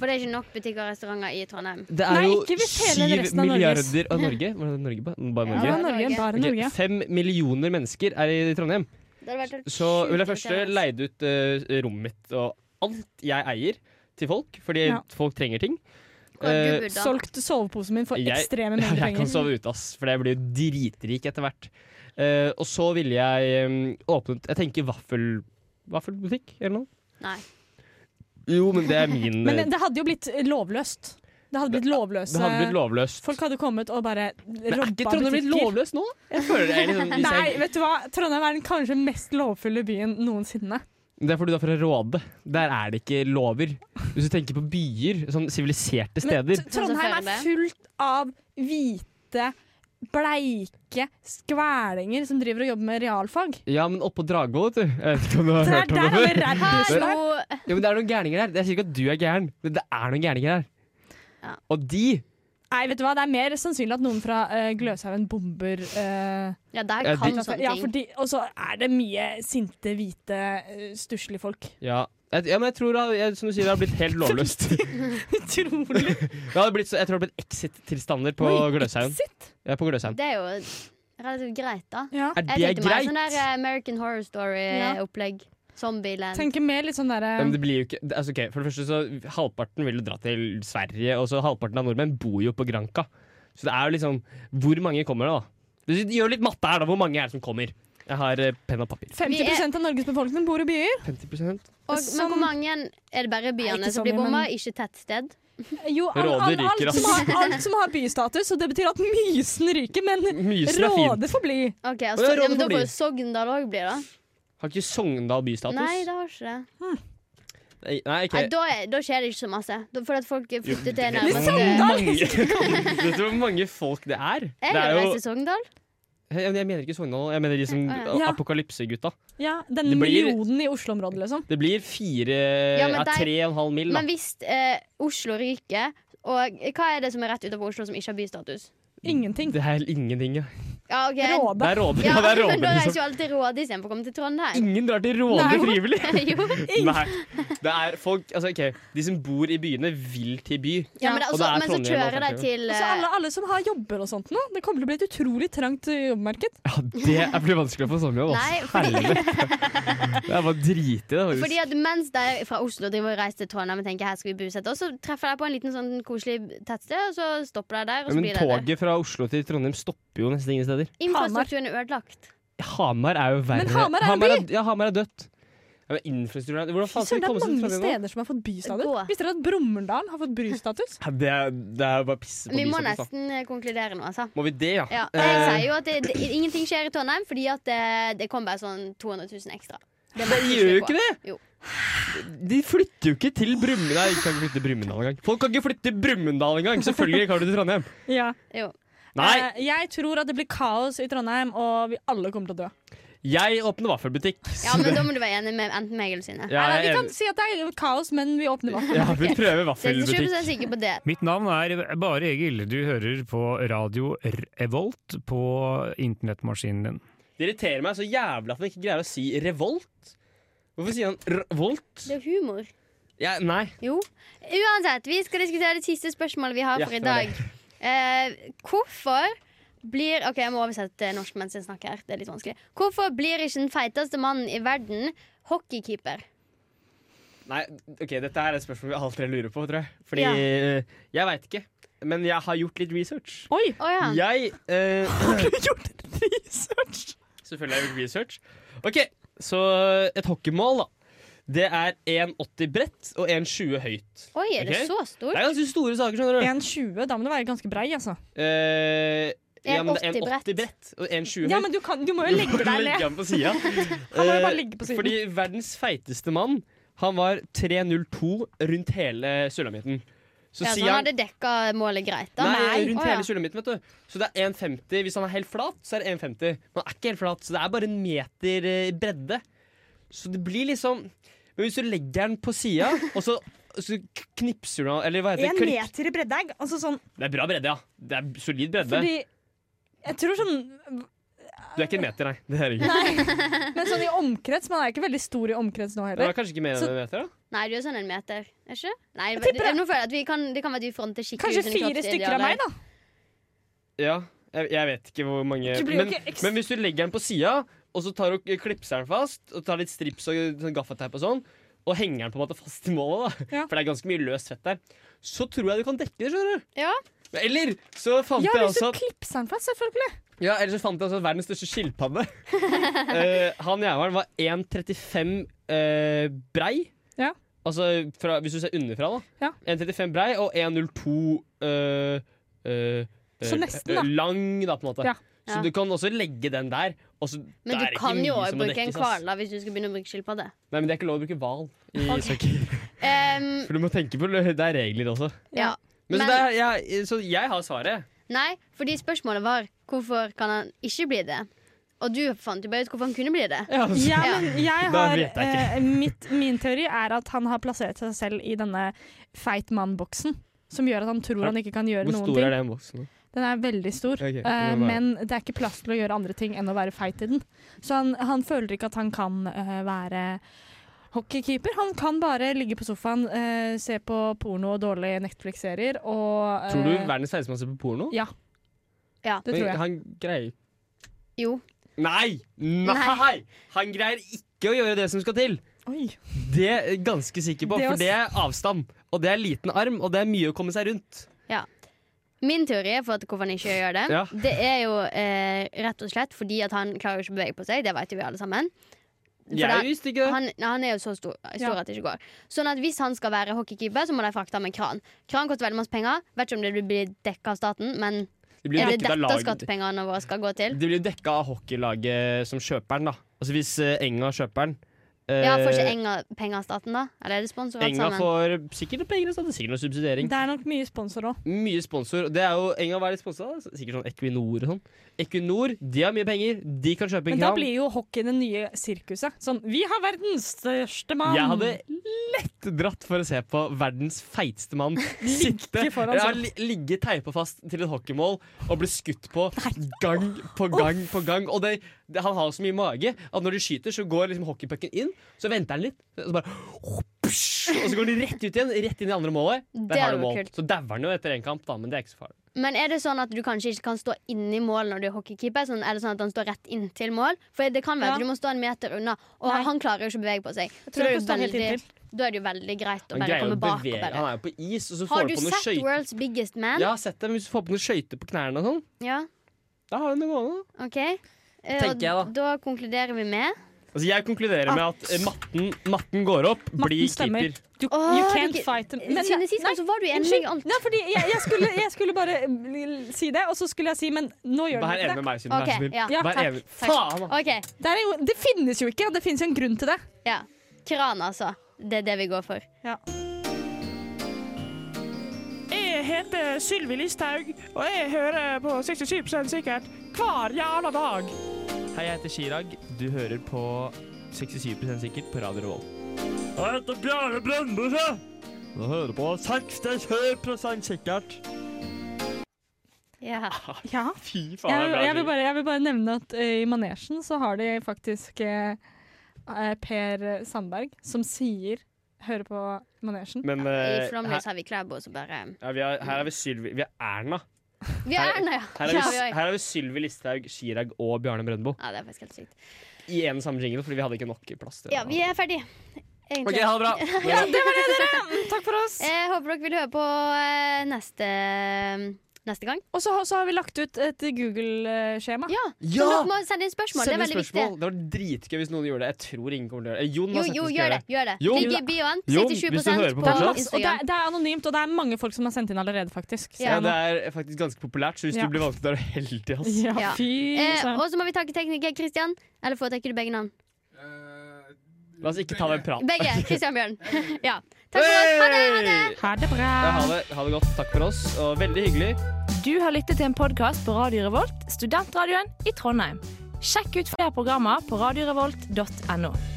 For det er ikke nok butikker og restauranter i Trondheim.
Det
Nei,
er
ikke
jo
hvis hele
syv
resten av Norges.
milliarder av Norge. Var det Norge? Bare, bare
Ja,
Ja, det
Norge?
var Norge,
Norge.
bare
Ok,
Norge.
Fem millioner mennesker er i Trondheim.
Det hadde vært helt
Så
sjukt
vil jeg først
irriterende.
leide ut eh, rommet mitt og alt jeg eier, til folk. Fordi
Ja.
folk trenger ting.
Hvor hadde du
Eh,
bodd da?
Solgt soveposen min for
Jeg-
ekstreme
Ja,
mengder
jeg kan
penger.
sove ute, ass, for jeg blir jo dritrik etter hvert. Eh, og så ville jeg um, åpnet Jeg tenker vaffel, vaffelbutikk eller noe.
Nei.
Jo, men det er min
Men
eh,
det hadde jo blitt eh, lovløst. Det hadde blitt lovløse
Det hadde blitt lovløst.
Folk hadde kommet og bare
Men er
robba
ikke Trondheim blitt
butikker.
lovløst nå? Jeg føler det er liksom, hvis
Nei,
jeg,
vet du hva? Trondheim er den kanskje mest lovfulle byen noensinne.
Det er fordi du er fra Råde. Der er det ikke lover. Hvis du tenker på byer, sånn siviliserte steder
Men T- Trondheim er fullt av hvite, bleike skvælinger som driver og jobber med realfag.
Ja, men oppå Dragvoll, vet du. Jeg vet ikke om du har
Der,
hørt om
der
det
har vi
før.
ræddisene.
Hallo!
Jo, men det er noen gærninger der. Jeg sier ikke at du er gæren, men det er noen gærninger der.
Ja.
Og de
Nei, vet du hva? Det er mer sannsynlig at noen fra eh, Gløshaugen bomber eh,
Ja, der
Ja,
kan
de-
sånne ting.
Ja, fordi, Og så er det mye sinte, hvite, eh, stusslige folk.
Ja, jeg, ja men jeg tror det har- jeg, som du sier, det har blitt helt lovløst. det
Utrolig.
hadde blitt, så- jeg tror det har blitt exit-tilstander på
Oi,
Gløshaugen.
Sitt.
Ja, på Gløshaugen.
Det er jo relativt greit, da.
Ja.
Er det
Jeg tenkte meg
greit?
sånn der eh, American Horror
Ja.
Story-opplegg. Zombieland.
Tenker mer litt sånn derre
Ja, men det blir jo ikke det, altså, ok, For det første så halvparten vil jo dra til Sverige, og så halvparten av nordmenn bor jo på Granka. Så det er jo liksom Hvor mange kommer det, da? Du gjør litt matte her, da. Hvor mange er det som kommer? Jeg har eh, penn og papir.
50 av Norges befolkning bor i byer.
50
Og,
Som-
men hvor mange er det bare
Nei, ikke
byene
så
som blir
mye,
bomma?
men-
Ikke tettsted?
Jo, all, all,
Rådet ryker, altså.
alt, som
ass.
har, alt som har bystatus, og det betyr at Mysen ryker, men
Mysen er fin.
Råde forblir.
Ok,
Å, ja,
altså, ja,
Råde
men Da
for
får
by.
Sogndal òg bli, da.
Har ikke Sogndal bystatus?
Nei, det har ikke det.
Nei, nei, ok.
Nei, da, er- da skjer det ikke så masse. Da, for at folk flytter til
Vet
nærmeste
du hvor mange- Vet du hvor mange folk det er?
Jeg
det er
vil reise til Sogndal.
Hei, men Jeg mener ikke Sogndal, jeg mener de som
Ja.
Ja.
apokalypsegutta.
Ja, Den
Det blir-
millionen i Oslo-området, liksom.
Det blir fire
Ja, men
ja,
der-
tre og en halv mil, da.
Men hvis eh, Oslo ryker og hva er det som er rett utenfor Oslo som ikke har bystatus?
Ingenting.
Det er ingenting, ja.
Ja, ok
Det
Råde.
er Råde.
Ja,
Ja, det er
men
Råde,
da reiser
liksom.
jo alle til Råde istedenfor å komme til Trondheim.
Ingen drar til Råde
Nei.
frivillig!
jo.
Nei. Det er folk Altså, OK, de som bor i byene, vil til by.
Ja, men, det er
Og det
også,
er
men så
Trondheim
kjører de
alternativet.
til
altså, Og så
eh,
Altså, alle, alle som har jobber og sånt nå. Det kommer til å bli et utrolig trangt eh, jobbmarked.
Ja, det er- blir vanskelig å få sommerjobb, ass.
Nei, fordi,
Det er bare dritig, det. faktisk.
fordi at mens de fra Oslo driver og reiser til Trondheim og tenker her skal vi bosette oss, så treffer de på en liten sånn koselig tettsted, og så stopper de der.
Ja,
Og så
Men
blir det det.
toget fra Oslo til Trondheim stopper jo nesten ingen steder.
Infrastrukturen er ødelagt.
Hamar er jo verre.
Men Hamar er en
ja, Hamar er dødt. Ja, men infrastrukturen er Hvordan faen skal vi
Søren, det
komme
er
oss til
mange
Trondheim nå?
steder som har fått bystatus.
Gå.
Visste dere at Brumunddal har fått bystatus?
Ja, Det er, det er jo bare pisse på
Vi må
bystatus, da.
nesten eh, konkludere nå, altså.
Må vi det, ja?
Ja, jeg
Eh,
sier jo at det, det, ingenting skjer i Trondheim, fordi at det, det kom bare sånn 200 000 ekstra. Det
det gjør jo ikke det!
Jo.
De flytter jo ikke til Brumunddal. Nei, de kan ikke flytte til Brumunddal engang. Folk kan ikke flytte til Brumunddal engang! Selvfølgelig kan du til Trondheim.
Ja.
Jo.
Nei,
Eh, jeg tror at det blir kaos i Trondheim, og vi alle kommer til å dø.
jeg åpner vaffelbutikk.
Ja, men da må du være enig med enten meg eller Synne.
Ja,
Nei, nei,
jeg
vi
er
kan
enig.
si at det er kaos, men vi åpner vann.
ja, vi prøver
Så jeg er ikke
vaffelbutikk.
100% sikker på det.
Mitt navn er Bare Egil. Du hører på radio Revolt på internettmaskinen din.
Det irriterer meg så jævlig at han ikke greier å si revolt. Hvorfor sier han revolt?
Det er humor.
Ja, nei.
Jo. Uansett, vi skal diskutere det siste spørsmålet vi har
Ja,
for i
det var
dag. Eh, hvorfor blir OK, jeg må oversette til norsk mens jeg snakker her. Det er litt vanskelig. Hvorfor blir ikke den feiteste mannen i verden hockeykeeper?
Nei, ok, dette er et spørsmål vi alle tre lurer på, tror jeg. Fordi
Ja.
eh, jeg veit ikke. Men jeg har gjort litt research.
Oi!
Å ja.
Jeg eh,
Gjort research!
Selvfølgelig har jeg gjort research. Ok, Så et hockeymål, da. Det er 1,80 bredt og 1,20 høyt.
Oi, er det
Ok.
så
Det
stort?
er ganske store saker, skjønner du.
1,20. Da må du være ganske brei, altså.
Eh, ja, men det er
1,80
1,80 bredt og 1,20 høyt.
Ja, men du, kan, du må jo legge deg ned.
han på sida.
Han må jo bare ligge på siden.
Fordi verdens feiteste mann, han var 3,02 rundt hele sulamitten. Så
Ja, så
sier
han
han
hadde dekka målet greit, da.
Nei, rundt
Å, ja.
hele sulamitten, vet du. Så det er 1,50. Hvis han er helt flat, så er det 1,50. Men han er ikke helt flat, så det er bare en meter eh, bredde. Så det blir liksom Men hvis du legger den på sida, og så, så k- knipser du den Eller hva heter
En
det? Klipp.
meter i breddeegg. Altså sånn
Det er bra bredde, ja. Det er solid bredde.
fordi Jeg tror sånn
Du er ikke en meter, nei. Det er du ikke.
Men sånn i omkrets. Man er ikke veldig stor i omkrets nå
Det
heller.
var kanskje ikke mer enn
Så-
en meter, da?
Nei, du er sånn en meter. Er ikke? det? Nei,
Jeg
det,
tipper det.
nå føler jeg at vi kan, det kan være at vi fronter skikkelig
Kanskje
uten
fire
kroppsidealer.
stykker av meg, da.
Ja. Jeg, jeg vet ikke hvor mange
Du blir jo
men,
ikke ekst-
men hvis du legger den på sida, og så tar du og klipser den fast, og tar litt strips og sånn gaffateip og sånn, og henger den på en måte fast i målet, da,
Ja.
for det er ganske mye løst fett der, så tror jeg du kan dekke det, skjønner du.
Ja.
Eller så fant
Ja,
jeg
hvis du
også at
klipser den fast, selvfølgelig.
ja, eller så fant jeg også at verdens største skilpadde eh, Han jævelen var 1,35 eh, brei.
Ja.
Altså fra, hvis du ser underfra, da.
Ja.
1,35 brei og 1,02 eh, eh,
Så
eh,
nesten, da.
eh, Lang, da, på en måte.
Ja.
Så
Ja.
du kan også legge den der. og så- det
Men
er
du
ikke
kan
mye
jo også
som må
bruke en
dekkes, ass.
hval da, hvis du skal begynne å bruke skilpadde.
Nei, men det er ikke lov å bruke hval i
Ok.
ishockey.
Ehm,
For du må tenke på Det er regler også.
ja.
Men,
Men-
så, det er, jeg, så jeg har svaret.
Nei, fordi spørsmålet var hvorfor kan han ikke bli det? Og du fant jo bare ut hvorfor han kunne bli det.
Ja, altså.
Ja, men jeg
Da
har,
vet jeg ikke.
eh, mitt, min teori er at han har plassert seg selv i denne feit mann-boksen. Som gjør at han tror han ikke kan gjøre
Hvor
eh, noen
stor
ting.
er den boksen?
Den er veldig stor.
Ok,
eh,
den er bare-
men det er ikke plass til å gjøre andre ting enn å være feit i den. Så han, han føler ikke at han kan eh, være hockeykeeper. Han kan bare ligge på sofaen, eh, se på porno og dårlige Netflix-serier og eh,
Tror du verdens feiteste mann ser på porno?
Ja.
Ja.
Det tror
Men
jeg.
Han greier
Jo.
Nei! Nei!
Nei.
Han greier ikke å gjøre det som skal til.
Oi.
Det er jeg ganske sikker på,
Det å
for det er avstand. Og det er liten arm, og det er mye å komme seg rundt.
Min teori for at hvorfor han ikke gjør det,
Ja.
det er jo eh, rett og slett fordi at han klarer jo ikke å bevege på seg. Det vet jo vi alle sammen. For da-
Jeg visste ikke det.
han, nei, han er jo så stor, stor
Ja.
at det ikke går. Sånn at Hvis han skal være hockeykeeper, så må de frakte ham med kran. Kran koster veldig masse penger. Vet ikke om det blir dekka av staten, men
De
er
blir
det
dekket av
dette
laget.
skattepengene våre skal gå til?
De blir dekka av hockeylaget som kjøper den, da. Altså hvis eh, Enga kjøper den. eh,
Ja, Får ikke Enga penger av staten, da? Eller er det sponsorer alt
Enga
sammen?
får sikkert noe penger i staten, sikkert noe subsidiering.
Det er nok mye sponsor òg.
Mye sponsor. og Det er jo Enga hva er de sponset av? Sikkert sånn Equinor og sånn. Equinor, de har mye penger. De kan kjøpe
Men
en
da
kran.
blir jo hockey det nye sirkuset. Sånn 'Vi har verdens største mann'.
Jeg hadde lett dratt for å se på verdens feiteste mann sitte
foran
ja,
sånn.
li- Ligge teipa fast til et hockeymål og bli skutt på gang på gang på gang. Og det, det, han har så mye mage at når de skyter, så går liksom hockeypucken inn, så venter han litt, og så bare og så går de rett ut igjen, rett inn i det andre målet.
Det
Der har
er
du
jo
mål.
kult.
Så dauer han jo etter én kamp, da, men det er ikke så farlig.
Men er det sånn at du kanskje ikke kan stå inni mål når du er hockeykeeper? Sånn, er det sånn at han står rett inntil mål? For det kan være
Ja.
at du må stå en meter unna, og
Nei.
han klarer jo ikke å bevege på seg. Så
tror
da er,
han kan
det
stå
jo
helt
veldig, da er det jo veldig greit å
Han
bare
greier å
komme bak og
bevege
bare
Han er jo på is, og så får
Har du
han på noen
sett
skøyter.
World's Biggest Man?
Ja, sett dem hvis du får på noen skøyter på knærne og sånn.
Ja,
Da har han det gående.
ok Eh,
Tenker
og
jeg
da konkluderer vi med
Altså, jeg konkluderer med at eh, matten, matten går opp, bli
stemmer.
keeper.
Du,
Åh,
you
du
can't
ikke-
fight them. Men-
Siden sist gang
nei,
så var du enig i
unnskyld.
alt.
Nei, fordi jeg, jeg, skulle, jeg skulle bare eh, si det, og så skulle jeg si Men nå gjør
Vær
du
enig
ikke
med
det.
meg, siden
OK.
vær så snill.
Ja.
Ja,
Vær
takk.
enig.
Takk.
Faen! da.
Ok,
Det, er jo, det finnes jo ikke, og det finnes jo en grunn til det.
ja. Kran, altså. Det er det vi går for.
Jeg heter Sylvi Listhaug, og jeg hører på 67 sikkert hver jævla dag.
Hei, jeg heter Chirag. Du hører på 67 sikkert på Radio Revolt.
Jeg heter Bjarne Brøndbøse. Nå hører du på 67 sikkert.
Ja.
Ja.
Fy faen,
Jeg,
det er
jeg, vil
bra.
bare, jeg vil bare nevne at eh, i manesjen så har de faktisk eh, eh, Per Sandberg som sier Hører på manesjen.
Men
I
eh,
Flåmlys
her,
har vi Klæbo som bare
ja, vi har, her er vi Sylvi Vi er Erna.
Vi er Erna, ja.
Her er
ja,
vi,
vi er.
her er vi Sylvi Listhaug, Chirag og Bjarne Brøndbo
ja, det er faktisk helt sykt.
i én samme jingle, fordi vi hadde ikke nok plass til
Ja, vi er ferdige.
OK,
Egentlig.
ha det bra.
Takk for oss!
Eh, Jeg håper dere vil høre på eh, neste, neste gang.
Og så, har- så har vi lagt ut et Google-skjema.
Ja, Så
Ja!
dere må sende inn spørsmål.
Send
det er
inn
veldig
spørsmål. Det var dritgøy hvis noen gjorde det. Jeg tror ingen kommer til å gjøre det. Eh, Jon har sett
viktig. Jo, jo,
vi skal
gjør det.
gjøre
gjør det
Jon,
Ligg i bioen.
Jon,
67
hvis du hører på
på,
Det er masse, og det,
Instagram.
er- det er anonymt, og det er mange folk som har sendt inn allerede, faktisk. Så
Ja,
Ja.
nå-
det er faktisk ganske populært, så hvis
Ja.
du blir valgt, da er du heldig. Ass.
ja,
Ja.
fy
Eh,
søren.
og så må vi takke tekniker Kristian. Eller foretrekker du begge navn?
La oss ikke ta den praten.
Begge. Kristian Bjørn. ja. Takk for oss. Ha det! Ha det!
Ha det bra.
Ja, Ha det, ha det godt. Takk for oss, og veldig hyggelig.
Du har lyttet til en podkast på Radio Revolt, studentradioen i Trondheim. Sjekk ut flere programmer på radiorevolt.no.